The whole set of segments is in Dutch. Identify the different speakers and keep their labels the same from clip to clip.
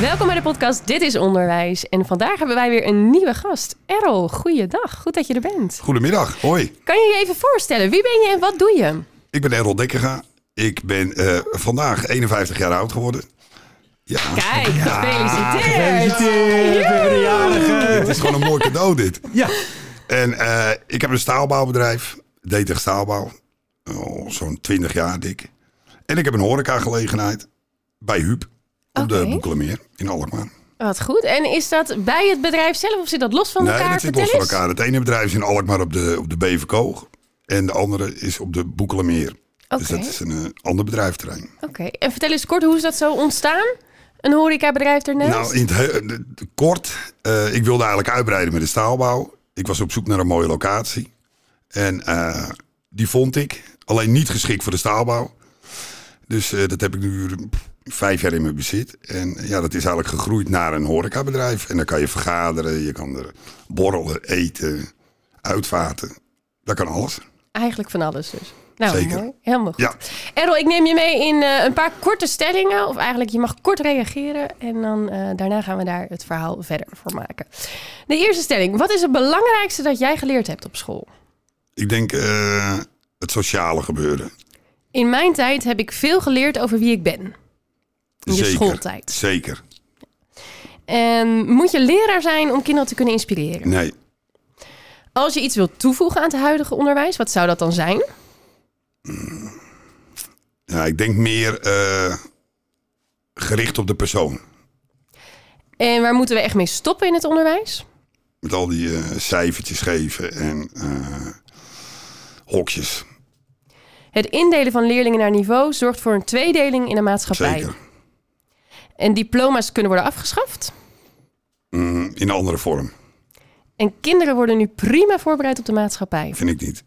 Speaker 1: Welkom bij de podcast Dit is Onderwijs. En vandaag hebben wij weer een nieuwe gast. Errol, goeiedag. Goed dat je er bent.
Speaker 2: Goedemiddag, hoi.
Speaker 1: Kan je je even voorstellen? Wie ben je en wat doe je?
Speaker 2: Ik ben Errol Dekkega. Ik ben eh, vandaag 51 jaar oud geworden. Ja,
Speaker 1: Kijk, gefeliciteerd.
Speaker 2: dit is gewoon een mooi cadeau dit.
Speaker 3: Ja.
Speaker 2: En eh, ik heb een staalbouwbedrijf, DTG Staalbouw. Oh, Zo'n 20 jaar dik. En ik heb een horecagelegenheid bij Huub op
Speaker 1: Oké.
Speaker 2: de Boekelemeer in Alkmaar.
Speaker 1: Wat goed. En is dat bij het bedrijf zelf of zit dat los van
Speaker 2: Nee,
Speaker 1: elkaar?
Speaker 2: dat zit
Speaker 1: Vertel
Speaker 2: los van
Speaker 1: eens.
Speaker 2: elkaar. Het ene bedrijf is in Alkmaar op de, op de Beverkoog. En de andere is op de Boekelemeer. Dus
Speaker 1: Oké.
Speaker 2: dat is een eh, ander bedrijfterrein.
Speaker 1: Oké. En vertel eens kort, hoe is dat zo ontstaan? Een horecabedrijf ernaast?
Speaker 2: Nou, in het he- de- de- kort. eh, ik wilde eigenlijk uitbreiden met de staalbouw. Ik was op zoek naar een mooie locatie. En eh, die vond ik. Alleen niet geschikt voor de staalbouw. Dus eh, dat heb ik nu pff, vijf jaar in mijn bezit. En eh, ja, dat is eigenlijk gegroeid naar een horecabedrijf. En dan kan je vergaderen, je kan er borrelen, eten, uitvaarten. Dat kan alles.
Speaker 1: Eigenlijk van alles dus. Nou,
Speaker 2: Zeker.
Speaker 1: mooi. Helemaal goed.
Speaker 2: Ja.
Speaker 1: Errol, ik neem je mee in eh, een paar korte stellingen. Of eigenlijk, je mag kort reageren. En dan eh, daarna gaan we daar het verhaal verder voor maken. De eerste stelling. Wat is het belangrijkste dat jij geleerd hebt op school?
Speaker 2: Ik denk eh, het sociale gebeuren.
Speaker 1: In mijn tijd heb ik veel geleerd over wie ik ben. In je
Speaker 2: Zeker.
Speaker 1: schooltijd.
Speaker 2: Zeker.
Speaker 1: En moet je leraar zijn om kinderen te kunnen inspireren?
Speaker 2: Nee.
Speaker 1: Als je iets wilt toevoegen aan het huidige onderwijs, wat zou dat dan zijn?
Speaker 2: Ja, Nou, ik denk meer eh, gericht op de persoon.
Speaker 1: En waar moeten we echt mee stoppen in het onderwijs?
Speaker 2: Met al die eh, cijfertjes geven en eh, hokjes.
Speaker 1: Het indelen van leerlingen naar niveau zorgt voor een tweedeling in de maatschappij.
Speaker 2: Zeker.
Speaker 1: En diploma's kunnen worden afgeschaft.
Speaker 2: Mm, in een andere vorm,
Speaker 1: En kinderen worden nu prima voorbereid op de maatschappij.
Speaker 2: vind ik niet.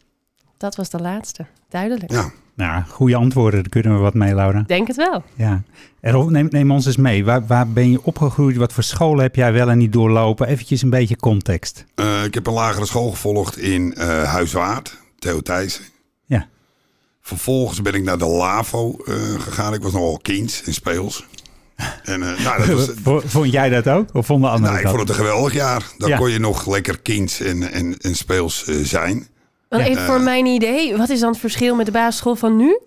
Speaker 1: Dat was de laatste. Duidelijk.
Speaker 2: Ja.
Speaker 3: Nou, goede antwoorden, daar kunnen we wat mee, Laura.
Speaker 1: Denk het wel.
Speaker 3: Ja. Errol, neem, neem ons eens mee. Waar, waar ben je opgegroeid? Wat voor scholen heb jij wel en niet doorlopen? Eventjes een beetje context.
Speaker 2: Eh, ik heb een lagere school gevolgd in eh Huiswaard, Theo Thijssen.
Speaker 3: Ja.
Speaker 2: Vervolgens ben ik naar de LAVO eh, gegaan. Ik was nogal kind en speels. En eh, nou, dat was,
Speaker 3: V- Vond jij dat ook? Of vonden anderen
Speaker 2: nou, ik
Speaker 3: dat?
Speaker 2: vond het een geweldig jaar. Daar
Speaker 3: Ja.
Speaker 2: kon je nog lekker kind en, en, en speels eh, zijn.
Speaker 1: Want
Speaker 3: Ja.
Speaker 1: even voor mijn idee, wat is dan het verschil met de basisschool van nu?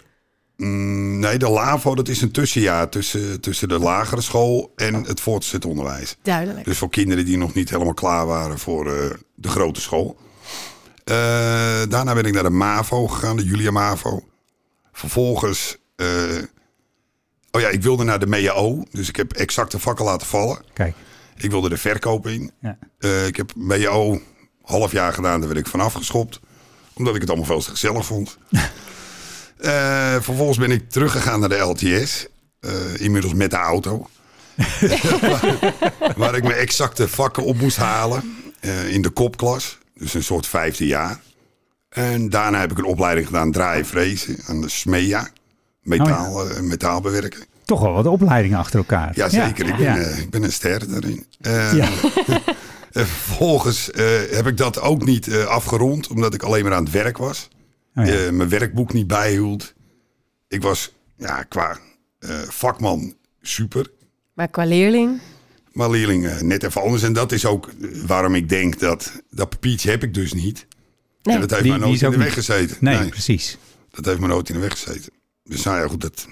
Speaker 2: Mm, Nee, de LAVO dat is een tussenjaar tussen, tussen de lagere school en het voortgezet onderwijs.
Speaker 1: Duidelijk.
Speaker 2: Dus voor kinderen die nog niet helemaal klaar waren voor eh, de grote school. Eh, daarna ben ik naar de MAVO gegaan, de Julia MAVO. Vervolgens, eh, oh ja, ik wilde naar de MEAO, dus ik heb exacte vakken laten vallen.
Speaker 3: Kijk.
Speaker 2: Ik wilde de verkoop in.
Speaker 3: Ja.
Speaker 2: Eh, ik heb MEAO half jaar gedaan, daar werd ik van afgeschopt. Omdat ik het allemaal veel te gezellig vond. Eh, vervolgens ben ik teruggegaan naar de LTS. eh, inmiddels met de auto. waar, waar ik mijn exacte vakken op moest halen. eh, in de kopklas. Dus een soort vijfde jaar. En daarna heb ik een opleiding gedaan draai en vrezen aan de SMEA. Metaal, eh, metaal bewerken.
Speaker 3: Toch wel wat opleidingen achter elkaar.
Speaker 2: Jazeker, ik, ben,
Speaker 3: Ja.
Speaker 2: eh, ik ben een ster daarin. Eh,
Speaker 3: Ja.
Speaker 2: en vervolgens eh, heb ik dat ook niet eh, afgerond, omdat ik alleen maar aan het werk was.
Speaker 3: Oh ja.
Speaker 2: Eh, mijn werkboek niet bijhield. Ik was ja, qua eh, vakman super,
Speaker 1: Maar qua leerling,
Speaker 2: maar leerling eh, net even anders. En dat is ook eh, waarom ik denk dat dat papiertje heb ik dus niet.
Speaker 1: Nee,
Speaker 2: en dat heeft
Speaker 3: die-
Speaker 2: mij
Speaker 3: die
Speaker 2: nooit
Speaker 3: is
Speaker 2: in
Speaker 3: ook
Speaker 2: de weg
Speaker 3: niet-
Speaker 2: gezeten.
Speaker 3: Nee, precies.
Speaker 2: dat heeft me nooit in de weg gezeten. Dus nou ja, goed, dat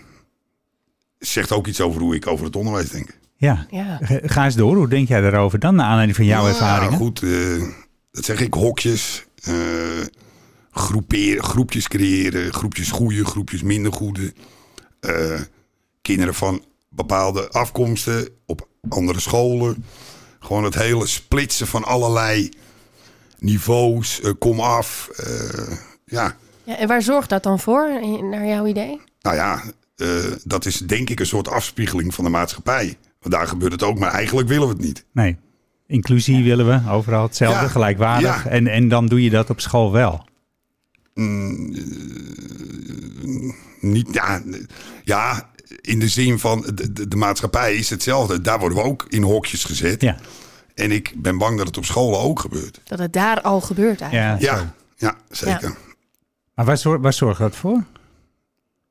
Speaker 2: zegt ook iets over hoe ik over het onderwijs denk.
Speaker 3: Ja.
Speaker 1: ja.
Speaker 3: Ga- Ga eens door. Hoe denk jij daarover dan, naar aanleiding van jouw
Speaker 2: Ja,
Speaker 3: ervaringen?
Speaker 2: Nou, goed, eh, dat zeg ik, hokjes. eh, groeperen, groepjes creëren, groepjes goede, groepjes minder goede. eh, kinderen van bepaalde afkomsten op andere scholen. Gewoon het hele splitsen van allerlei niveaus, eh, kom af. eh, ja,
Speaker 1: ja. En waar zorgt dat dan voor, in- naar jouw idee?
Speaker 2: nou ja, eh, dat is denk ik een soort afspiegeling van de maatschappij. Want daar gebeurt het ook, maar eigenlijk willen we het niet.
Speaker 3: Nee. Inclusie willen we, overal hetzelfde,
Speaker 2: Ja,
Speaker 3: gelijkwaardig.
Speaker 2: ja.
Speaker 3: En, en dan doe je dat op school wel.
Speaker 2: Niet, ja, ja, in de zin van de, de, de maatschappij is hetzelfde. Daar worden we ook in hokjes gezet.
Speaker 3: Ja,
Speaker 2: En ik ben bang dat het op scholen ook gebeurt.
Speaker 1: Dat het daar al gebeurt eigenlijk.
Speaker 3: ja. zo.
Speaker 2: Ja, ja zeker.
Speaker 3: Maar waar, zor- waar zorgen we dat voor?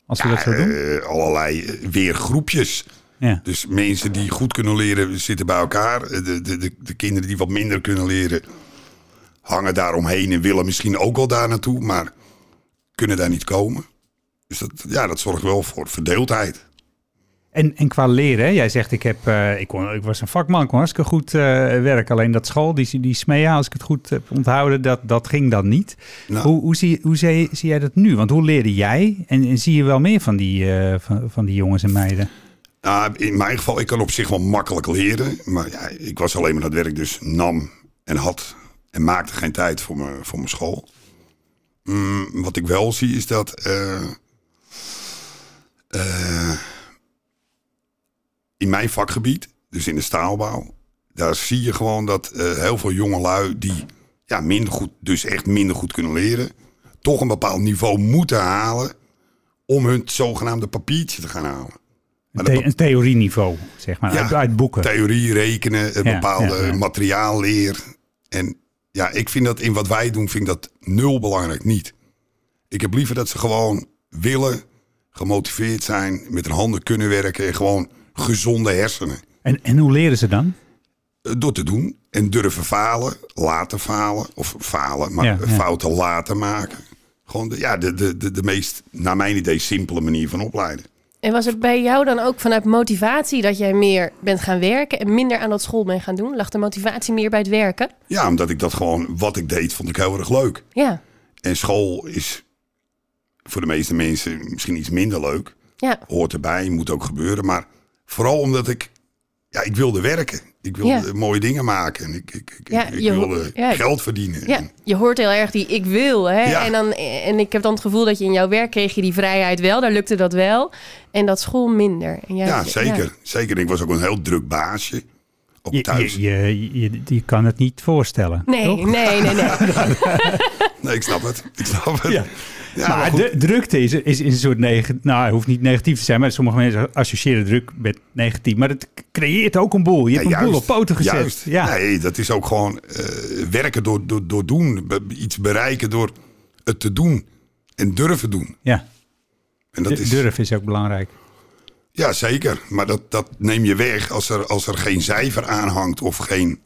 Speaker 3: Als we dat zo doen?
Speaker 2: Eh, allerlei eh, weer groepjes.
Speaker 3: Ja.
Speaker 2: Dus mensen die goed kunnen leren zitten bij elkaar. Eh, De, de, de, de kinderen die wat minder kunnen leren hangen daaromheen en willen misschien ook wel daar naartoe, maar kunnen daar niet komen. Dus dat, ja, dat zorgt wel voor verdeeldheid.
Speaker 3: En, en qua leren, hè? jij zegt ik, heb, eh, ik, kon, ik was een vakman, ik kon hartstikke goed eh, werken. Alleen dat school, die, die smea, als ik het goed heb onthouden, dat, dat ging dan niet.
Speaker 2: Nou.
Speaker 3: Hoe, hoe, zie, hoe zie, zie jij dat nu? Want hoe leerde jij? En, en zie je wel meer van die, eh, van, van die jongens en meiden?
Speaker 2: Nou, in mijn geval, ik kan op zich wel makkelijk leren. Maar ja, ik was alleen maar aan het werk, dus nam en had en maakte geen tijd voor mijn, voor mijn school. Mm, wat ik wel zie is dat. eh, eh, in mijn vakgebied, dus in de staalbouw, daar zie je gewoon dat eh, heel veel jongelui die ja, minder goed, dus echt minder goed kunnen leren, toch een bepaald niveau moeten halen om hun zogenaamde papiertje te gaan halen.
Speaker 3: Een,
Speaker 2: Maar
Speaker 3: the-
Speaker 2: dat-
Speaker 3: een theorieniveau, zeg maar,
Speaker 2: Ja,
Speaker 3: uit, uit boeken.
Speaker 2: Theorie, rekenen, een
Speaker 3: Ja,
Speaker 2: bepaalde
Speaker 3: ja, ja.
Speaker 2: materiaalleer. En ja, ik vind dat in wat wij doen, vind ik dat nul belangrijk niet. Ik heb liever dat ze gewoon willen, gemotiveerd zijn, met hun handen kunnen werken en gewoon gezonde hersenen.
Speaker 3: En, en hoe leren ze dan?
Speaker 2: Eh, Door te doen en durven falen, laten falen of falen, maar
Speaker 3: Ja, ja.
Speaker 2: fouten laten maken. Gewoon de, ja, de, de, de, de meest, naar mijn idee, simpele manier van opleiden.
Speaker 1: En was het bij jou dan ook vanuit motivatie dat jij meer bent gaan werken en minder aan dat school bent gaan doen? Lag de motivatie meer bij het werken?
Speaker 2: Ja, omdat ik dat gewoon, wat ik deed, vond ik heel erg leuk.
Speaker 1: Ja.
Speaker 2: En school is voor de meeste mensen misschien iets minder leuk.
Speaker 1: Ja.
Speaker 2: Hoort erbij, moet ook gebeuren. Maar vooral omdat ik, ja, ik wilde werken. Ik wilde
Speaker 1: Ja.
Speaker 2: mooie dingen maken. En ik, ik, ik,
Speaker 1: Ja,
Speaker 2: ik
Speaker 1: je ho-
Speaker 2: wilde
Speaker 1: ja.
Speaker 2: geld verdienen.
Speaker 1: Ja,
Speaker 2: En
Speaker 1: je hoort heel erg die ik wil. Hè?
Speaker 2: Mm. Ja.
Speaker 1: En, dan, en ik heb dan het gevoel dat je in jouw werk kreeg je die vrijheid wel. Daar lukte dat wel. En dat school minder. En jij-
Speaker 2: ja, zeker. Zeker. Ik was ook een heel druk baasje. Ook
Speaker 3: Je,
Speaker 2: thuis.
Speaker 3: je, je, je, je kan het niet voorstellen.
Speaker 1: Nee,
Speaker 3: toch?
Speaker 1: nee, nee, nee.
Speaker 2: Nee, ik snap het. Ik snap het.
Speaker 3: Ja.
Speaker 2: Ja,
Speaker 3: maar
Speaker 2: maar goed.
Speaker 3: de, drukte is, is, is een soort negatief. Nou, het hoeft niet negatief te zijn, maar sommige mensen associëren druk met negatief. Maar het creëert ook een boel. Je hebt
Speaker 2: Ja,
Speaker 3: een boel op
Speaker 2: juist.
Speaker 3: poten gezet.
Speaker 2: Juist.
Speaker 3: Ja.
Speaker 2: Nee, dat is ook gewoon eh, werken door, door, door doen. Be- Iets bereiken door het te doen. En durven doen.
Speaker 3: ja.
Speaker 2: En dat
Speaker 3: Du-
Speaker 2: is,
Speaker 3: Durf is ook belangrijk.
Speaker 2: Ja, zeker. Maar dat, dat neem je weg als er, als er geen cijfer aan hangt of geen...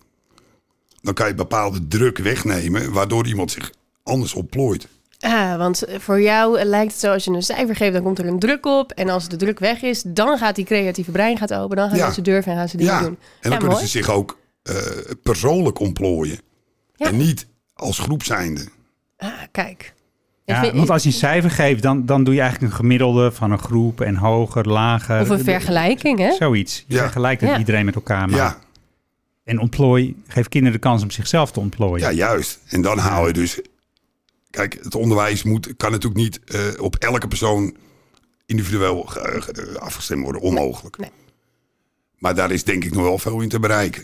Speaker 2: Dan kan je bepaalde druk wegnemen, waardoor iemand zich anders opplooit.
Speaker 1: Ah, want voor jou lijkt het zo, als je een cijfer geeft, dan komt er een druk op. En als de druk weg is, dan gaat die creatieve brein gaat open. Dan gaan
Speaker 2: Ja.
Speaker 1: mensen durven en gaan ze dingen
Speaker 2: ja,
Speaker 1: doen.
Speaker 2: en dan
Speaker 1: ja,
Speaker 2: kunnen
Speaker 1: mooi.
Speaker 2: ze zich ook eh, persoonlijk ontplooien.
Speaker 1: Ja.
Speaker 2: En niet als groep zijnde.
Speaker 1: Ah, kijk. Ik
Speaker 3: Ja,
Speaker 1: vind-
Speaker 3: want als je een cijfer geeft, dan, dan doe je eigenlijk een gemiddelde van een groep en hoger, lager.
Speaker 1: Of een vergelijking, hè?
Speaker 3: Zoiets. Je
Speaker 2: Ja.
Speaker 3: vergelijkt het
Speaker 1: Ja.
Speaker 3: iedereen met elkaar. Maar.
Speaker 2: Ja,
Speaker 3: En ontplooi, geef kinderen de kans om zichzelf te ontplooien.
Speaker 2: ja, juist. En dan haal je dus... Kijk, het onderwijs moet, kan natuurlijk niet eh, op elke persoon individueel ge- ge- afgestemd worden. Onmogelijk.
Speaker 1: Nee.
Speaker 2: Maar daar is denk ik nog wel veel in te bereiken.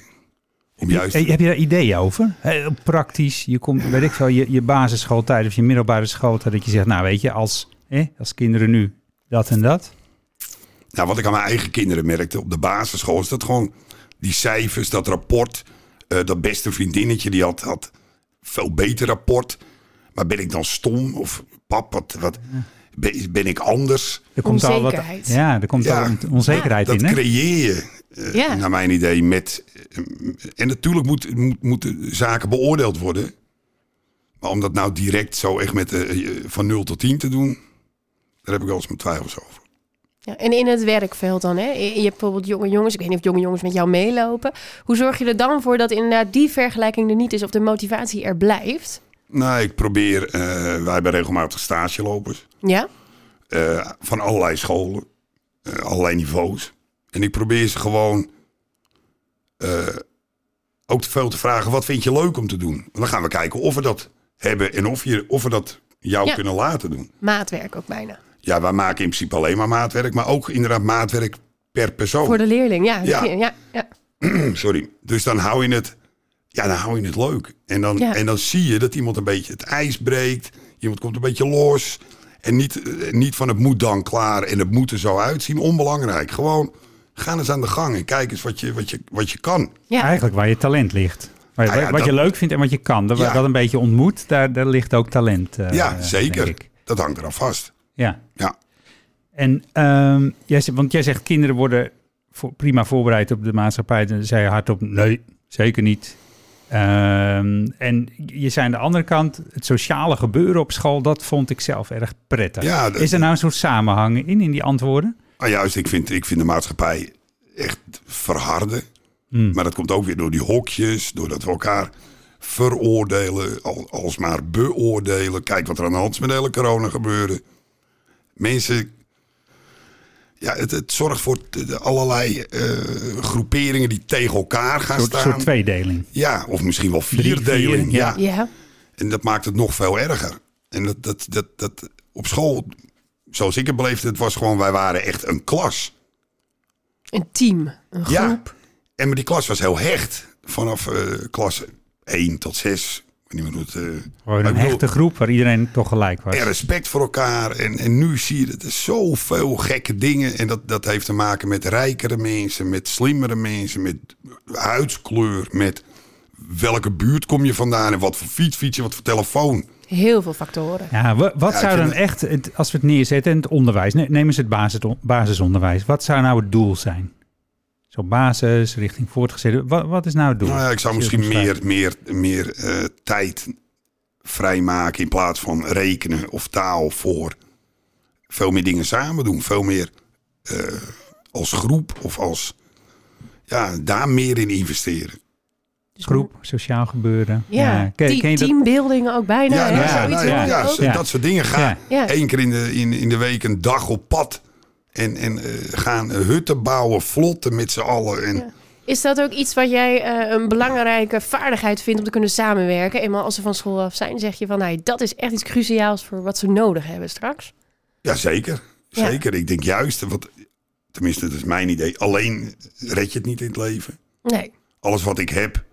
Speaker 2: Om juist...
Speaker 3: Hey, heb je daar ideeën over? Heel praktisch. Je komt, weet ik veel, je, je basisschooltijd of je middelbare schooltijd. Dat je zegt, nou weet je, als, hè, als kinderen nu dat en dat.
Speaker 2: Nou, wat ik aan mijn eigen kinderen merkte op de basisschool is dat gewoon die cijfers, dat rapport, eh, dat beste vriendinnetje die had, had veel beter rapport. Maar ben ik dan stom of pap, wat, wat ben, ben ik anders?
Speaker 3: Er komt al wat,
Speaker 1: Onzekerheid.
Speaker 3: ja, er komt
Speaker 2: Ja.
Speaker 3: al een onzekerheid
Speaker 2: Dat
Speaker 3: in. Hè?
Speaker 2: creëer je, eh,
Speaker 1: Ja.
Speaker 2: naar mijn idee, met... eh, en natuurlijk moet, moet, moeten zaken beoordeeld worden. Maar om dat nou direct zo echt met, eh, eh, van 0 tot 10 te doen, daar heb ik wel eens mijn twijfels over.
Speaker 1: Ja, en in het werkveld dan, hè? Je hebt bijvoorbeeld jonge jongens, ik weet niet of jonge jongens met jou meelopen. Hoe zorg je er dan voor dat inderdaad die vergelijking er niet is of de motivatie er blijft?
Speaker 2: Nou, ik probeer... eh, wij hebben regelmatig stagelopers.
Speaker 1: Ja,
Speaker 2: eh, van allerlei scholen, eh, allerlei niveaus. En ik probeer ze gewoon eh, ook te veel te vragen: wat vind je leuk om te doen? Want dan gaan we kijken of we dat hebben en of, je, of we dat jou
Speaker 1: Ja.
Speaker 2: kunnen laten doen.
Speaker 1: maatwerk ook bijna.
Speaker 2: Ja, wij maken in principe alleen maar maatwerk, maar ook inderdaad maatwerk per persoon.
Speaker 1: Voor de leerling, ja.
Speaker 2: Ja.
Speaker 1: ja, ja.
Speaker 2: Sorry. Dus dan hou je het Ja, dan hou je het leuk. En dan,
Speaker 1: Ja.
Speaker 2: en dan zie je dat iemand een beetje het ijs breekt. Iemand komt een beetje los. En niet, eh, niet van het moet dan klaar en het moet er zo uitzien. Onbelangrijk. Gewoon ga eens aan de gang en kijk eens wat je, wat je, wat je kan.
Speaker 1: Ja.
Speaker 3: Eigenlijk waar je talent ligt. Waar je-
Speaker 2: Nou ja,
Speaker 3: wat je
Speaker 2: dat-
Speaker 3: leuk vindt en wat je kan. Dat,
Speaker 2: Ja.
Speaker 3: dat een beetje ontmoet, daar, daar ligt ook talent. eh,
Speaker 2: ja,
Speaker 3: eh,
Speaker 2: zeker.
Speaker 3: denk ik.
Speaker 2: Dat hangt eraan vast.
Speaker 3: Ja.
Speaker 2: Ja.
Speaker 3: En ehm, jij, zegt- want jij zegt kinderen worden voor, prima voorbereid op de maatschappij. Dan zei je hardop nee, zeker niet. Ehm, en je zei aan de andere kant, het sociale gebeuren op school, dat vond ik zelf erg prettig.
Speaker 2: Ja, dat-
Speaker 3: Is er nou een soort samenhang in, in die antwoorden?
Speaker 2: Ah, juist, ik vind, ik vind de maatschappij echt verharden.
Speaker 3: Hmm.
Speaker 2: Maar dat komt ook weer door die hokjes, doordat we elkaar veroordelen, al, alsmaar beoordelen. Kijk wat er aan de hand is met de hele corona gebeurde. Mensen, ja, het, het zorgt voor t- de allerlei eh, groeperingen die tegen elkaar gaan
Speaker 3: Een soort,
Speaker 2: staan.
Speaker 3: soort tweedeling.
Speaker 2: Ja, of misschien wel
Speaker 3: vier,
Speaker 2: vierdeling.
Speaker 3: ja.
Speaker 2: ja.
Speaker 1: Ja.
Speaker 2: En dat maakt het nog veel erger. En dat, dat, dat, dat op school, zoals ik het beleefde, het was gewoon, wij waren echt een klas.
Speaker 1: Een team. Een groep.
Speaker 2: Ja. En maar die klas was heel hecht. Vanaf eh klas 1 tot 6. Ik weet niet meer hoe het... eh, maar
Speaker 3: Gewoon
Speaker 2: ik
Speaker 3: Oh, een
Speaker 2: bedoel,
Speaker 3: hechte groep waar iedereen toch gelijk was.
Speaker 2: En respect voor elkaar. En, en nu zie je dat er zoveel gekke dingen. En dat, dat heeft te maken met rijkere mensen, met slimmere mensen, met huidskleur, met welke buurt kom je vandaan en wat voor fiets fiets je, wat voor telefoon.
Speaker 1: Heel veel factoren.
Speaker 3: Ja, wa- wat
Speaker 2: Ja, ik
Speaker 3: zou
Speaker 2: vind
Speaker 3: dan echt, het, als we het neerzetten in het onderwijs, ne- neem eens het basis, basisonderwijs. Wat zou nou het doel zijn? Zo basis, richting voortgezet. Wat, wat is nou het doel?
Speaker 2: Nou ja, ik zou
Speaker 3: Als je
Speaker 2: misschien
Speaker 3: het
Speaker 2: meer, meer, meer eh, tijd vrijmaken in plaats van rekenen of taal voor veel meer dingen samen doen. Veel meer eh, als groep of als... Ja, daar meer in investeren.
Speaker 1: Dus-
Speaker 3: Groep, sociaal gebeuren.
Speaker 1: Ja,
Speaker 3: Ken-
Speaker 1: te-
Speaker 3: ken je dat-
Speaker 1: teambuildingen ook bijna.
Speaker 2: Ja,
Speaker 1: hè?
Speaker 2: nou ja,
Speaker 1: Zoiets hoor
Speaker 2: nou ja,
Speaker 1: je
Speaker 2: ja,
Speaker 1: ook.
Speaker 2: zo- dat soort dingen. Ga
Speaker 3: Ja.
Speaker 1: Ja.
Speaker 2: één keer in de, in, in de week een dag op pad. En, en eh, gaan hutten bouwen, vlotten met z'n allen. En,
Speaker 1: Ja. Is dat ook iets wat jij eh, een belangrijke vaardigheid vindt om te kunnen samenwerken? Eenmaal als ze van school af zijn, zeg je van hey, dat is echt iets cruciaals voor wat ze nodig hebben straks.
Speaker 2: Ja, zeker.
Speaker 1: Ja.
Speaker 2: Zeker. Ik denk juist, want, tenminste dat is mijn idee, alleen red je het niet in het leven.
Speaker 1: Nee.
Speaker 2: Alles wat ik heb,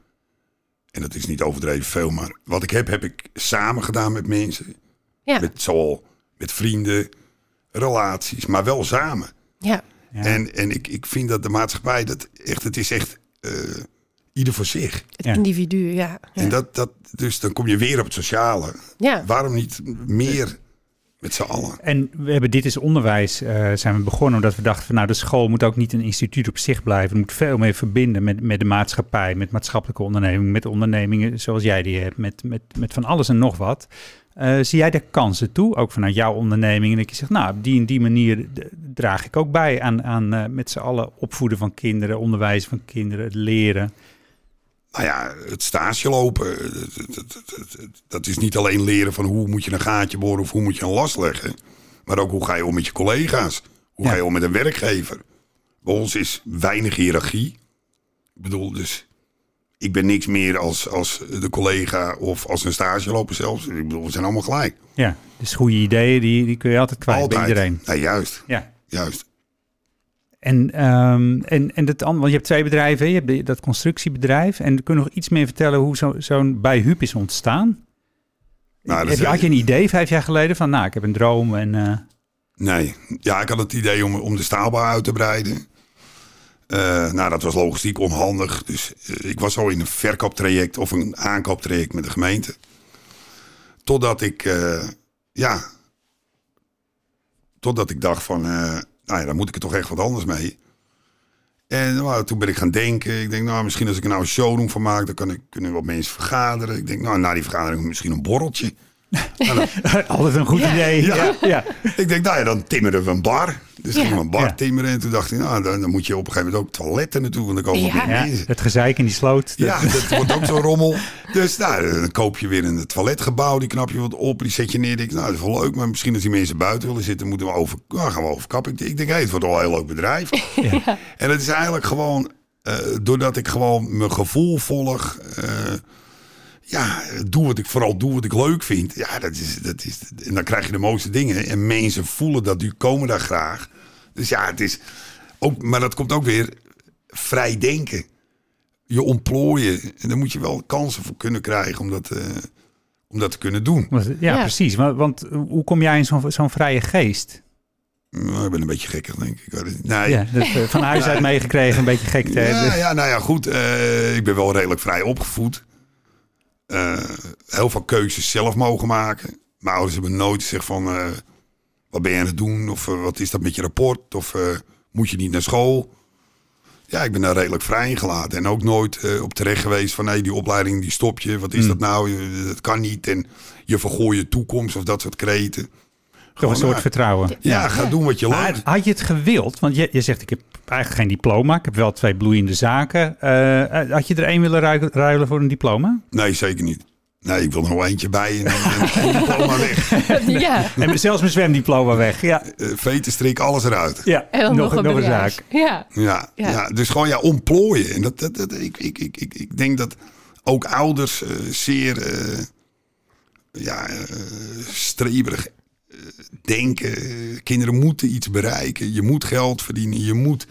Speaker 2: en dat is niet overdreven veel, maar wat ik heb, heb ik samen gedaan met mensen.
Speaker 1: Ja.
Speaker 2: Met, zowel met vrienden, relaties, maar wel samen.
Speaker 1: ja.
Speaker 3: Ja.
Speaker 2: En, en ik, ik vind dat de maatschappij, dat echt, het is echt eh, ieder voor zich.
Speaker 1: Het
Speaker 3: Ja.
Speaker 1: individu, ja. Ja.
Speaker 2: En dat, dat, dus dan kom je weer op het sociale.
Speaker 1: Ja.
Speaker 2: Waarom niet meer met z'n allen?
Speaker 3: En we hebben dit is onderwijs, eh, zijn we begonnen omdat we dachten van nou de school moet ook niet een instituut op zich blijven. Het moet veel meer verbinden met, met de maatschappij, met maatschappelijke ondernemingen, met ondernemingen zoals jij die hebt, met, met, met van alles en nog wat. Eh, zie jij daar kansen toe, ook vanuit jouw onderneming? En dat je zegt, nou, op die en die manier eh, draag ik ook bij aan, aan eh, met z'n allen opvoeden van kinderen, onderwijs van kinderen, het leren.
Speaker 2: Nou ja, het stage lopen, eh, dat- dat- dat- dat- dat is niet alleen leren van hoe moet je een gaatje boren of hoe moet je een last leggen. Maar ook hoe ga je om met je collega's? Hoe
Speaker 3: Ja.
Speaker 2: ga je om met een werkgever? Bij ons is weinig hiërarchie. Ik bedoel, dus ik ben niks meer als, als de collega of als een stage lopen zelfs. Ik bedoel, we zijn allemaal gelijk.
Speaker 3: Ja, dus goede ideeën, die, die kun je altijd kwijt
Speaker 2: Altijd.
Speaker 3: bij iedereen.
Speaker 2: Nee, juist,
Speaker 3: Ja.
Speaker 2: juist.
Speaker 3: En, ehm, en, en dat andere, want je hebt twee bedrijven, hè? je hebt de- dat constructiebedrijf. En kun je nog iets meer vertellen hoe zo- zo'n bij Huub is ontstaan?
Speaker 2: Nou, dat
Speaker 3: Heb je,
Speaker 2: is-
Speaker 3: had je een idee vijf jaar geleden van, nou, ik heb een droom en... eh,
Speaker 2: Nee, ja, ik had het idee om, om de staalbouw uit te breiden. Eh, nou, dat was logistiek onhandig. Dus eh, ik was al in een verkooptraject of een aankooptraject met de gemeente. Totdat ik, eh, ja, totdat ik dacht van, eh, nou ja, daar moet ik er toch echt wat anders mee. En nou, toen ben ik gaan denken. Ik denk, nou, misschien als ik er nou een showroom van maak, dan kan ik, kunnen wat mensen vergaderen. Ik denk, nou, na die vergadering misschien een borreltje. Nou, dan-
Speaker 3: altijd een goed
Speaker 1: Ja.
Speaker 3: idee.
Speaker 2: Ja.
Speaker 3: Ja. Ja.
Speaker 2: ik denk, nou ja, dan timmeren we een bar. Dus
Speaker 1: Ja.
Speaker 2: gingen we een bar
Speaker 3: Ja.
Speaker 2: timmeren. En toen dacht ik, nou, dan, dan moet je op een gegeven moment ook toiletten naartoe. Want dan komen
Speaker 1: Ja.
Speaker 2: ja.
Speaker 3: Ja,
Speaker 2: mensen.
Speaker 3: het gezeik in die sloot. dat-
Speaker 2: Ja, dat wordt ook zo'n rommel. Dus nou, dan koop je weer een toiletgebouw. Die knap je wat op, die zet je neer. Ik denk, nou, dat is wel leuk. Maar misschien als die mensen buiten willen zitten, moeten we over, nou, gaan we overkappen. Ik, ik denk, hey, het wordt wel een heel leuk bedrijf. En het is eigenlijk gewoon, eh, doordat ik gewoon mijn gevoel volg. eh, ja, doe wat ik vooral doe wat ik leuk vind. Ja, dat is, dat is, en dan krijg je de mooiste dingen. En mensen voelen dat, die komen daar graag. Dus ja, het is ook, maar dat komt ook weer vrij denken je ontplooien. En daar moet je wel kansen voor kunnen krijgen om dat, eh, om dat te kunnen doen.
Speaker 3: Want- Ja,
Speaker 1: Ja.
Speaker 3: precies. Want, want hoe kom jij in zo'n zo'n vrije geest?
Speaker 2: Nou, ik ben een beetje gekkig, denk ik. ik. weet het niet. Nee,
Speaker 3: Ja, dat, eh, van huis uit meegekregen, een beetje gekte. hè?
Speaker 2: Ja,
Speaker 3: Dus-
Speaker 2: ja, nou ja, goed. eh, ik ben wel redelijk vrij opgevoed. Eh, heel veel keuzes zelf mogen maken. Mijn ouders hebben nooit gezegd van... eh, wat ben je aan het doen? Of eh, wat is dat met je rapport? Of eh, moet je niet naar school? Ja, ik ben daar redelijk vrij in gelaten. En ook nooit eh, op terecht geweest van... Hey, die opleiding, die stop je. Wat is dat nou? Je- Dat kan niet. En je vergooi je toekomst of dat soort kreten.
Speaker 3: Toch een soort
Speaker 2: ja.
Speaker 3: vertrouwen.
Speaker 2: Ja, ga doen wat je
Speaker 3: Maar
Speaker 2: leuk.
Speaker 3: had je het gewild? Want je, je zegt, ik heb eigenlijk geen diploma. Ik heb wel twee bloeiende zaken. Eh, had je er één willen ruilen, ruilen voor een diploma?
Speaker 2: Nee, zeker niet. Nee, ik wil er nog wel eentje bij en dan en diploma weg.
Speaker 1: ja.
Speaker 3: En zelfs mijn zwemdiploma weg. Ja,
Speaker 2: Eh, vetenstrik, alles eruit.
Speaker 3: ja.
Speaker 1: En dan nog, een, bedrijf.
Speaker 3: zaak.
Speaker 1: Ja.
Speaker 2: Ja,
Speaker 1: Ja.
Speaker 2: ja. dus gewoon ja, ontplooien. En dat, dat, dat- ik, ik, ik, ik, ik denk dat ook ouders eh, zeer eh, ja, eh, streberig eh, denken. Eh, Kinderen moeten iets bereiken. Je moet geld verdienen. Je moet.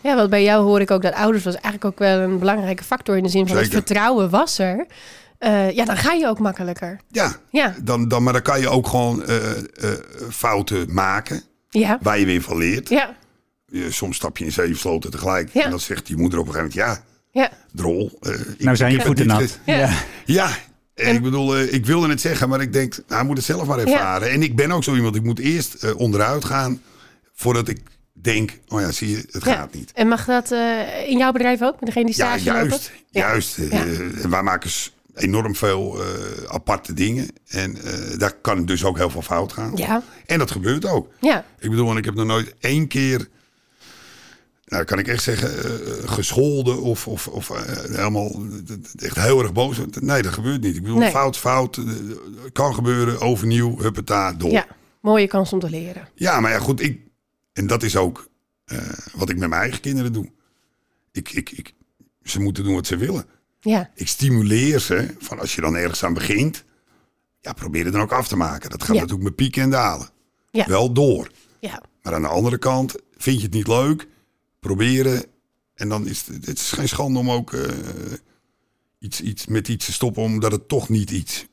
Speaker 1: ja, want bij jou hoor ik ook dat ouders was eigenlijk ook wel een belangrijke factor in de zin van het
Speaker 2: Zeker.
Speaker 1: vertrouwen was er. Eh, ja, dan ga je ook makkelijker.
Speaker 2: Ja,
Speaker 1: Ja,
Speaker 2: dan, dan, maar dan kan je ook gewoon eh, eh, fouten maken.
Speaker 1: ja,
Speaker 2: Waar je weer van leert.
Speaker 1: ja,
Speaker 2: Je- soms stap je in zeven sloten tegelijk.
Speaker 1: Ja.
Speaker 2: En dan zegt die moeder op een gegeven moment: ja,
Speaker 1: ja.
Speaker 2: drol. eh, ik-
Speaker 3: Nou zijn
Speaker 2: ik
Speaker 3: je
Speaker 2: heb
Speaker 3: voeten
Speaker 2: dit
Speaker 3: nat.
Speaker 2: ge-
Speaker 1: Ja.
Speaker 2: Ja, eh, ik bedoel, eh, ik wilde het zeggen, maar ik denk, nou, hij moet het zelf maar ervaren. En ik ben ook zo iemand, ik moet eerst eh, onderuit gaan voordat ik denk, oh ja, zie je, het
Speaker 1: Ja.
Speaker 2: gaat niet.
Speaker 1: En mag dat eh, in jouw bedrijf ook? Met degene die
Speaker 2: Ja,
Speaker 1: stage lopen?
Speaker 2: juist.
Speaker 1: Ja.
Speaker 2: Juist. eh,
Speaker 1: Ja.
Speaker 2: eh, wij maken s- enorm veel eh, aparte dingen. En eh, daar kan dus ook heel veel fout gaan.
Speaker 1: Ja.
Speaker 2: En dat gebeurt ook.
Speaker 1: Ja,
Speaker 2: Ik bedoel, en ik heb nog nooit één keer, nou kan ik echt zeggen, eh, gescholden of, of, of eh, helemaal eh, echt heel erg boos. Nee, dat gebeurt niet. Ik bedoel,
Speaker 1: Nee.
Speaker 2: fout, fout, eh, kan gebeuren, overnieuw, huppeta, door.
Speaker 1: ja. Mooie kans om te leren.
Speaker 2: Ja, maar ja, goed, ik, en dat is ook eh, wat ik met mijn eigen kinderen doe. Ik, ik, ik, ze moeten doen wat ze willen.
Speaker 1: Ja,
Speaker 2: Ik stimuleer ze, van als je dan ergens aan begint, ja, probeer het dan ook af te maken. Dat gaat
Speaker 1: Ja.
Speaker 2: natuurlijk met pieken en dalen.
Speaker 1: Ja.
Speaker 2: Wel door.
Speaker 1: ja.
Speaker 2: Maar aan de andere kant, vind je het niet leuk, proberen. En dan is het, het is geen schande om ook eh, iets, iets, met iets te stoppen, omdat het toch niet iets,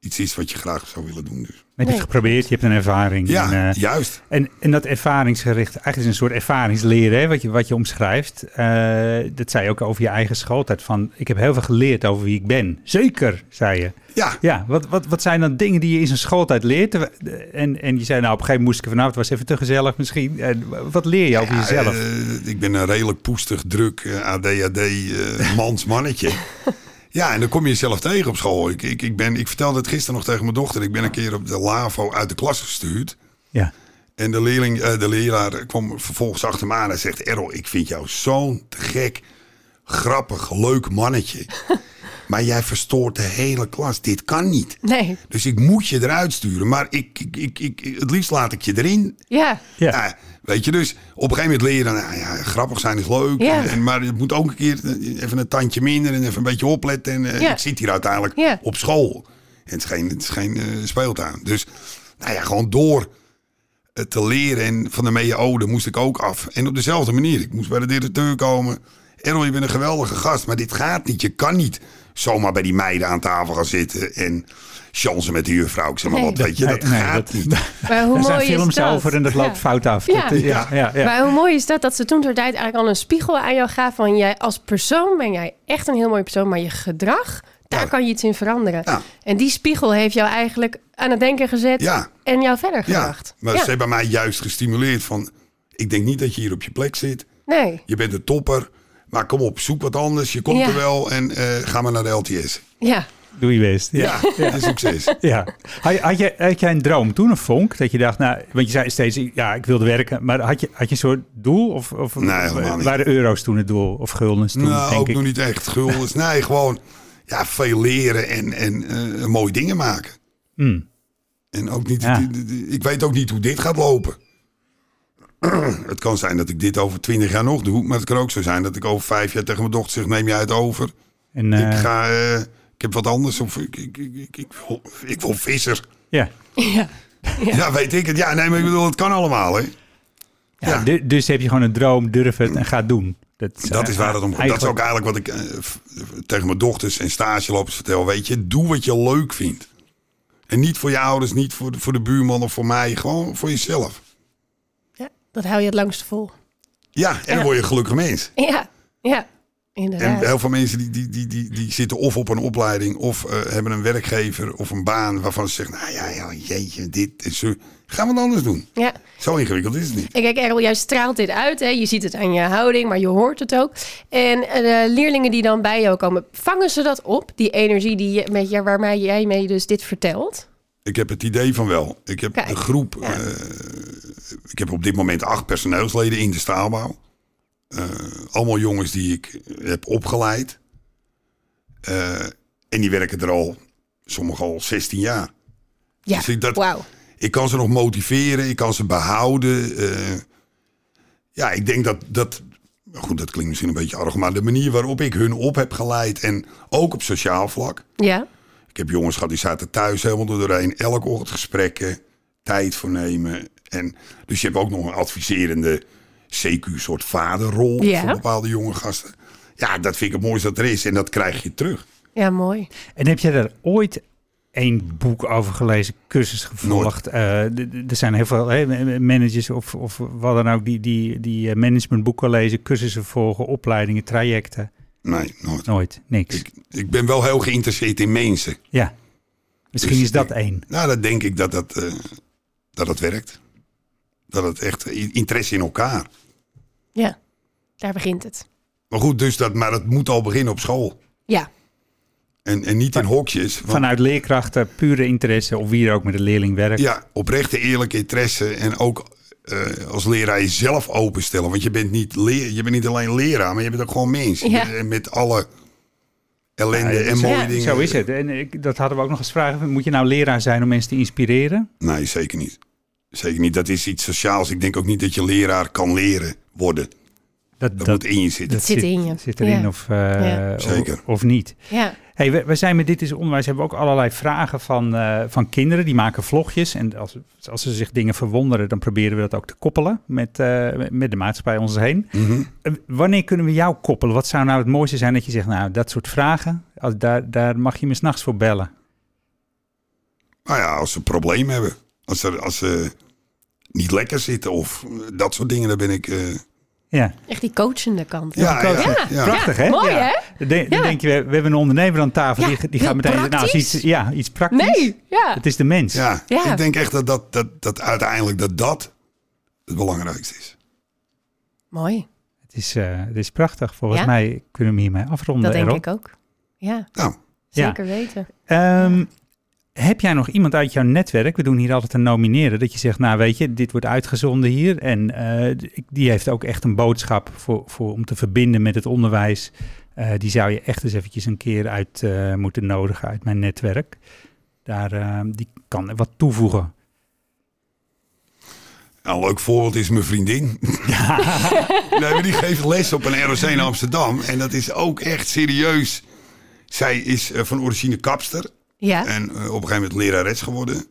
Speaker 2: iets is wat je graag zou willen doen. Dus.
Speaker 3: Maar je hebt het geprobeerd, je hebt een ervaring.
Speaker 2: Ja,
Speaker 3: en, eh,
Speaker 2: juist.
Speaker 3: En, en dat ervaringsgericht, eigenlijk is een soort ervaringsleren, hè, wat, je, wat je omschrijft. Eh, dat zei je ook over je eigen schooltijd. Van, ik heb heel veel geleerd over wie ik ben. Zeker, zei je.
Speaker 2: Ja,
Speaker 3: Ja, wat, wat, wat zijn dan dingen die je in zijn schooltijd leert? Terwijl- En, en je zei, nou, op een gegeven moment moest ik er vanaf. Het was even te gezellig misschien. En wat leer je over
Speaker 2: Ja,
Speaker 3: jezelf?
Speaker 2: eh, ik ben een redelijk poestig, druk, eh, ADHD, eh mans mannetje. ja, en dan kom je jezelf tegen op school. Ik, ik, ik, ben, ik vertelde het gisteren nog tegen mijn dochter. Ik ben een keer op de LAVO uit de klas gestuurd.
Speaker 3: ja.
Speaker 2: En de, leerling, eh, de leraar kwam vervolgens achter me aan en zegt... Errol, ik vind jou zo'n te gek, grappig, leuk mannetje. maar jij verstoort de hele klas. Dit kan niet.
Speaker 1: Nee.
Speaker 2: Dus ik moet je eruit sturen. Maar ik, ik, ik, ik, het liefst laat ik je erin.
Speaker 1: Ja,
Speaker 3: Ja.
Speaker 2: Nou, weet je, dus op een gegeven moment leer je dan... Nou, ja, grappig zijn is leuk.
Speaker 1: Ja.
Speaker 2: En, en- maar het moet ook een keer eh, even een tandje minder en even een beetje opletten. En eh,
Speaker 1: Ja.
Speaker 2: ik zit hier uiteindelijk
Speaker 1: Ja.
Speaker 2: op school. En het is geen, het is geen eh, speeltuin. Dus nou ja, gewoon door eh, te leren. En van de MEO, daar moest ik ook af. En op dezelfde manier. Ik moest bij de directeur komen. Errol, je bent een geweldige gast, maar dit gaat niet. Je kan niet zomaar bij die meiden aan tafel gaan zitten en chansen met de juffrouw. Ik zeg maar
Speaker 1: Nee.
Speaker 2: wat, weet je, dat
Speaker 3: Nee, nee,
Speaker 2: gaat
Speaker 3: dat-
Speaker 2: niet.
Speaker 1: maar hoe
Speaker 3: Er zijn
Speaker 1: mooi is
Speaker 3: films
Speaker 1: dat?
Speaker 3: over en dat loopt
Speaker 1: Ja.
Speaker 3: fout af.
Speaker 1: Ja.
Speaker 3: Dat, eh, ja, ja, ja.
Speaker 1: Maar hoe mooi is dat dat ze toen ter tijd eigenlijk al een spiegel aan jou gaf van jij als persoon ben jij echt een heel mooi persoon, maar je gedrag daar
Speaker 2: Ja.
Speaker 1: kan je iets in veranderen.
Speaker 2: Ja.
Speaker 1: En die spiegel heeft jou eigenlijk aan het denken gezet
Speaker 2: Ja.
Speaker 1: en jou verder gebracht.
Speaker 2: maar ze hebben mij juist gestimuleerd van... ik denk niet dat je hier op je plek zit.
Speaker 1: Nee,
Speaker 2: Je bent een topper. Maar kom op, zoek wat anders. Je komt
Speaker 1: Ja.
Speaker 2: er wel en eh, ga maar naar de LTS.
Speaker 1: ja.
Speaker 3: Doe je best. Ja.
Speaker 2: Ja, en succes.
Speaker 3: Ja. Had, had, jij, had jij een droom toen, een vonk? Dat je dacht, nou, want je zei steeds, ja, ik wilde werken. Maar had je, had je een soort doel? Of, of
Speaker 2: Nee, helemaal niet.
Speaker 3: waren euro's toen het doel? Of guldens toen,
Speaker 2: nou,
Speaker 3: denk
Speaker 2: ook
Speaker 3: ik?
Speaker 2: nog niet echt guldens. Nee, gewoon ja, veel leren en, en eh, mooie dingen maken.
Speaker 3: Hmm.
Speaker 2: En ook niet,
Speaker 3: Ja.
Speaker 2: die- die- die- ik weet ook niet hoe dit gaat lopen. het kan zijn dat ik dit over twintig jaar nog doe. Maar het kan ook zo zijn dat ik over vijf jaar tegen mijn dochter zeg... neem jij het over.
Speaker 3: En, eh,
Speaker 2: Ik ga... eh, ik heb wat anders. Of ik, ik, ik, ik, ik, wil, ik wil visser.
Speaker 3: ja.
Speaker 1: ja.
Speaker 2: Ja. weet ik het. Ja, nee, maar ik bedoel, het kan allemaal, hè?
Speaker 3: Ja, du- Dus heb je gewoon een droom, durf het en ga het doen. Dat,
Speaker 2: Dat is waar het om gaat. Dat is ook
Speaker 3: eigenlijk-
Speaker 2: eigenlijk wat ik eh, f- tegen mijn dochters en stagelopers vertel. Weet je, doe wat je leuk vindt. En niet voor je ouders, niet voor de, voor de buurman of voor mij. Gewoon voor jezelf.
Speaker 1: Ja, dat hou je het langst vol.
Speaker 2: Ja, en
Speaker 1: Ja.
Speaker 2: dan word je een gelukkig mens.
Speaker 1: Ja, ja,
Speaker 2: En
Speaker 1: inderdaad.
Speaker 2: heel veel mensen die, die, die, die, die zitten of op een opleiding of eh, hebben een werkgever of een baan waarvan ze zeggen, nou ja, ja jeetje, dit en zo. Gaan we het anders doen.
Speaker 1: Ja.
Speaker 2: Zo ingewikkeld is het niet.
Speaker 1: En kijk, Errol, jij straalt dit uit. Hè? Je ziet het aan je houding, maar je hoort het ook. En eh, de leerlingen die dan bij jou komen, vangen ze dat op? Die energie die je, met je, waarmee jij mee dus dit vertelt?
Speaker 2: Ik heb het idee van wel. Ik heb
Speaker 1: Kijk,
Speaker 2: de groep.
Speaker 1: ja.
Speaker 2: eh, ik heb op dit moment acht personeelsleden in de staalbouw. Eh, allemaal jongens die ik heb opgeleid. Eh, en die werken er al, sommigen al 16 jaar.
Speaker 1: Ja,
Speaker 2: Dus ik dat-
Speaker 1: wauw.
Speaker 2: Ik kan ze nog motiveren, ik kan ze behouden. eh. ja, ik denk dat dat. Goed, dat klinkt misschien een beetje arg, maar de manier waarop ik hun op heb geleid en ook op sociaal vlak.
Speaker 1: Ja,
Speaker 2: Ik heb jongens gehad die zaten thuis helemaal door doorheen. Elke ochtend gesprekken, tijd voor nemen. En, dus je hebt ook nog een adviserende CQ-soort vaderrol
Speaker 1: Ja.
Speaker 2: voor bepaalde jonge gasten. Ja, dat vind ik het mooiste dat er is en dat krijg je terug.
Speaker 1: ja mooi.
Speaker 3: En heb jij daar ooit één boek over gelezen, cursus gevolgd? Eh, d- d- er zijn heel veel hè, m- managers of, of wat dan ook die, die, die eh, managementboeken lezen, cursussen volgen, opleidingen, trajecten.
Speaker 2: Nee, nooit.
Speaker 3: Nooit, niks.
Speaker 2: Ik, ik ben wel heel geïnteresseerd in mensen.
Speaker 3: ja, misschien
Speaker 2: Dus
Speaker 3: is dat
Speaker 2: ik-
Speaker 3: één.
Speaker 2: Nou, dat denk ik dat dat, eh, dat, dat werkt. Dat het echt eh, i- interesse in elkaar.
Speaker 1: Ja, daar begint het.
Speaker 2: Maar goed, dus dat, maar dat moet al beginnen op school.
Speaker 1: Ja,
Speaker 2: En, en niet in hokjes. want-
Speaker 3: Vanuit leerkrachten, pure interesse of wie er ook met de leerling werkt.
Speaker 2: Ja, oprechte eerlijke interesse en ook eh, als leraar jezelf openstellen. Want je bent, niet leer, je bent niet alleen leraar, maar je bent ook gewoon mens. Je
Speaker 1: Ja.
Speaker 2: bent Met alle ellende en mooie
Speaker 1: Ja.
Speaker 2: dingen.
Speaker 3: Zo is het. En ik, dat hadden we ook nog eens vragen. Moet je nou leraar zijn om mensen te inspireren?
Speaker 2: Nee, zeker niet. Zeker niet. Dat is iets sociaals. Ik denk ook niet dat je leraar kan leren worden. Dat, moet in je zitten.
Speaker 1: zit in je.
Speaker 3: Zit erin
Speaker 1: Ja.
Speaker 3: of, eh,
Speaker 1: Ja.
Speaker 2: Zeker.
Speaker 3: of, of niet.
Speaker 1: ja.
Speaker 3: Hey, we, we zijn met Dit is Onderwijs, hebben we ook allerlei vragen van, eh, van kinderen. Die maken vlogjes en als, als ze zich dingen verwonderen, dan proberen we dat ook te koppelen met, eh, met de maatschappij om ons heen.
Speaker 2: Mhm.
Speaker 3: Eh, wanneer kunnen we jou koppelen? Wat zou nou het mooiste zijn dat je zegt, nou, dat soort vragen, als, daar, daar mag je me s'nachts voor bellen.
Speaker 2: Nou ja, als ze een probleem hebben. Als ze, als ze niet lekker zitten of eh, dat soort dingen, dan ben ik... eh,
Speaker 3: Ja,
Speaker 1: echt die coachende kant.
Speaker 2: ja, ja,
Speaker 1: Ja,
Speaker 2: ja.
Speaker 3: prachtig hè?
Speaker 1: mooi,
Speaker 3: Ja.
Speaker 1: hè?
Speaker 3: Dan denk- dan
Speaker 1: Ja.
Speaker 3: denk je, we, we hebben een ondernemer aan tafel,
Speaker 1: Ja,
Speaker 3: die, die
Speaker 1: heel
Speaker 3: gaat meteen, nou, is
Speaker 1: praktisch.
Speaker 3: iets, ja, iets praktisch.
Speaker 1: Nee, ja.
Speaker 3: Het is de mens.
Speaker 2: Ja,
Speaker 1: Ja.
Speaker 2: ik denk echt dat, dat, dat, dat uiteindelijk dat, dat het belangrijkste is.
Speaker 1: Mooi,
Speaker 3: Het, is eh, het is prachtig. Volgens
Speaker 1: Ja.
Speaker 3: mij kunnen we hem hiermee afronden.
Speaker 1: dat denk
Speaker 3: Errol.
Speaker 1: ik ook. Ja,
Speaker 2: Nou,
Speaker 3: Ja.
Speaker 1: zeker weten.
Speaker 3: Ehm, heb jij nog iemand uit jouw netwerk? We doen hier altijd een nomineren. Dat je zegt, nou weet je, dit wordt uitgezonden hier. En eh, ik- die heeft ook echt een boodschap voor, voor, om te verbinden met het onderwijs. Eh, die zou je echt eens eventjes een keer uit eh, moeten nodigen uit mijn netwerk. Daar, eh, die kan wat toevoegen.
Speaker 2: Ja, Een leuk voorbeeld is mijn vriendin. nee, maar die geeft les op een ROC in Amsterdam. En dat is ook echt serieus. Zij is eh, van origine kapster.
Speaker 1: Ja,
Speaker 2: En eh, op een gegeven moment lerares geworden.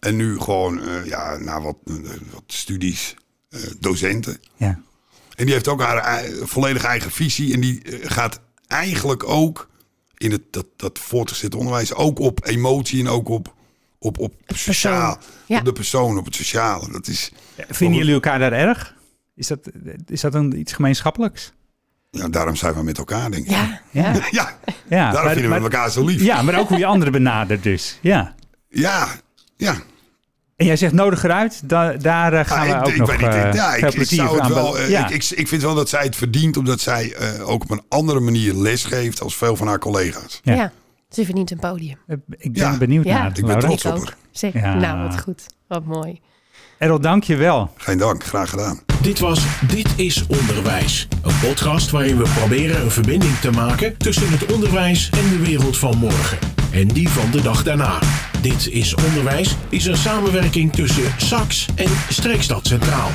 Speaker 2: En nu gewoon, eh, ja, na wat, eh, wat studies, eh docenten.
Speaker 3: Ja.
Speaker 2: En die heeft ook haar ei- volledig eigen visie. En die eh, gaat eigenlijk ook in het, dat, dat voortgezet onderwijs ook op emotie en ook op, op, op sociaal.
Speaker 1: Ja.
Speaker 2: Op de persoon, op het sociale. Dat is,
Speaker 3: Vinden jullie elkaar daar erg? Is dat, is dat een, iets gemeenschappelijks?
Speaker 2: ja, Nou, daarom zijn we met elkaar, denk ik.
Speaker 1: ja, ja.
Speaker 2: Ja,
Speaker 3: Ja,
Speaker 2: daarom
Speaker 3: Ah, maar-
Speaker 2: vinden we
Speaker 3: maar-
Speaker 2: elkaar zo lief. Ja.
Speaker 3: Ja, maar ook hoe je anderen benadert dus. Ja.
Speaker 2: ja. ja. Ah,
Speaker 3: En jij zegt nodig eruit, da- daar eh, gaan we
Speaker 2: ik,
Speaker 3: ook
Speaker 2: ik
Speaker 3: nog
Speaker 2: weet niet.
Speaker 3: eh,
Speaker 2: ik- ja, ik,
Speaker 3: veel
Speaker 2: ik
Speaker 3: plezier
Speaker 2: zou het
Speaker 3: aan
Speaker 2: wel.
Speaker 3: be-
Speaker 2: eh,
Speaker 3: ja.
Speaker 2: ik, ik, ik vind wel dat zij het verdient, omdat zij eh, ook op een andere manier lesgeeft als veel van haar collega's.
Speaker 3: Ja.
Speaker 1: Ze verdient een podium.
Speaker 3: Eh, ik ben
Speaker 2: Ja.
Speaker 3: benieuwd
Speaker 1: Ja.
Speaker 3: naar
Speaker 1: Ik
Speaker 3: het,
Speaker 2: ben
Speaker 3: Laura.
Speaker 2: trots.
Speaker 1: Ik ook.
Speaker 2: Topper.
Speaker 1: Zeker.
Speaker 3: Nou, Ja.
Speaker 1: Nou, wat goed. Wat mooi.
Speaker 3: Errol, dank je wel.
Speaker 2: Geen dank, graag gedaan.
Speaker 4: Dit was Dit is Onderwijs. Een podcast waarin we proberen een verbinding te maken tussen het onderwijs en de wereld van morgen. En die van de dag daarna. Dit is Onderwijs is een samenwerking tussen SAX en Streekstad Centraal.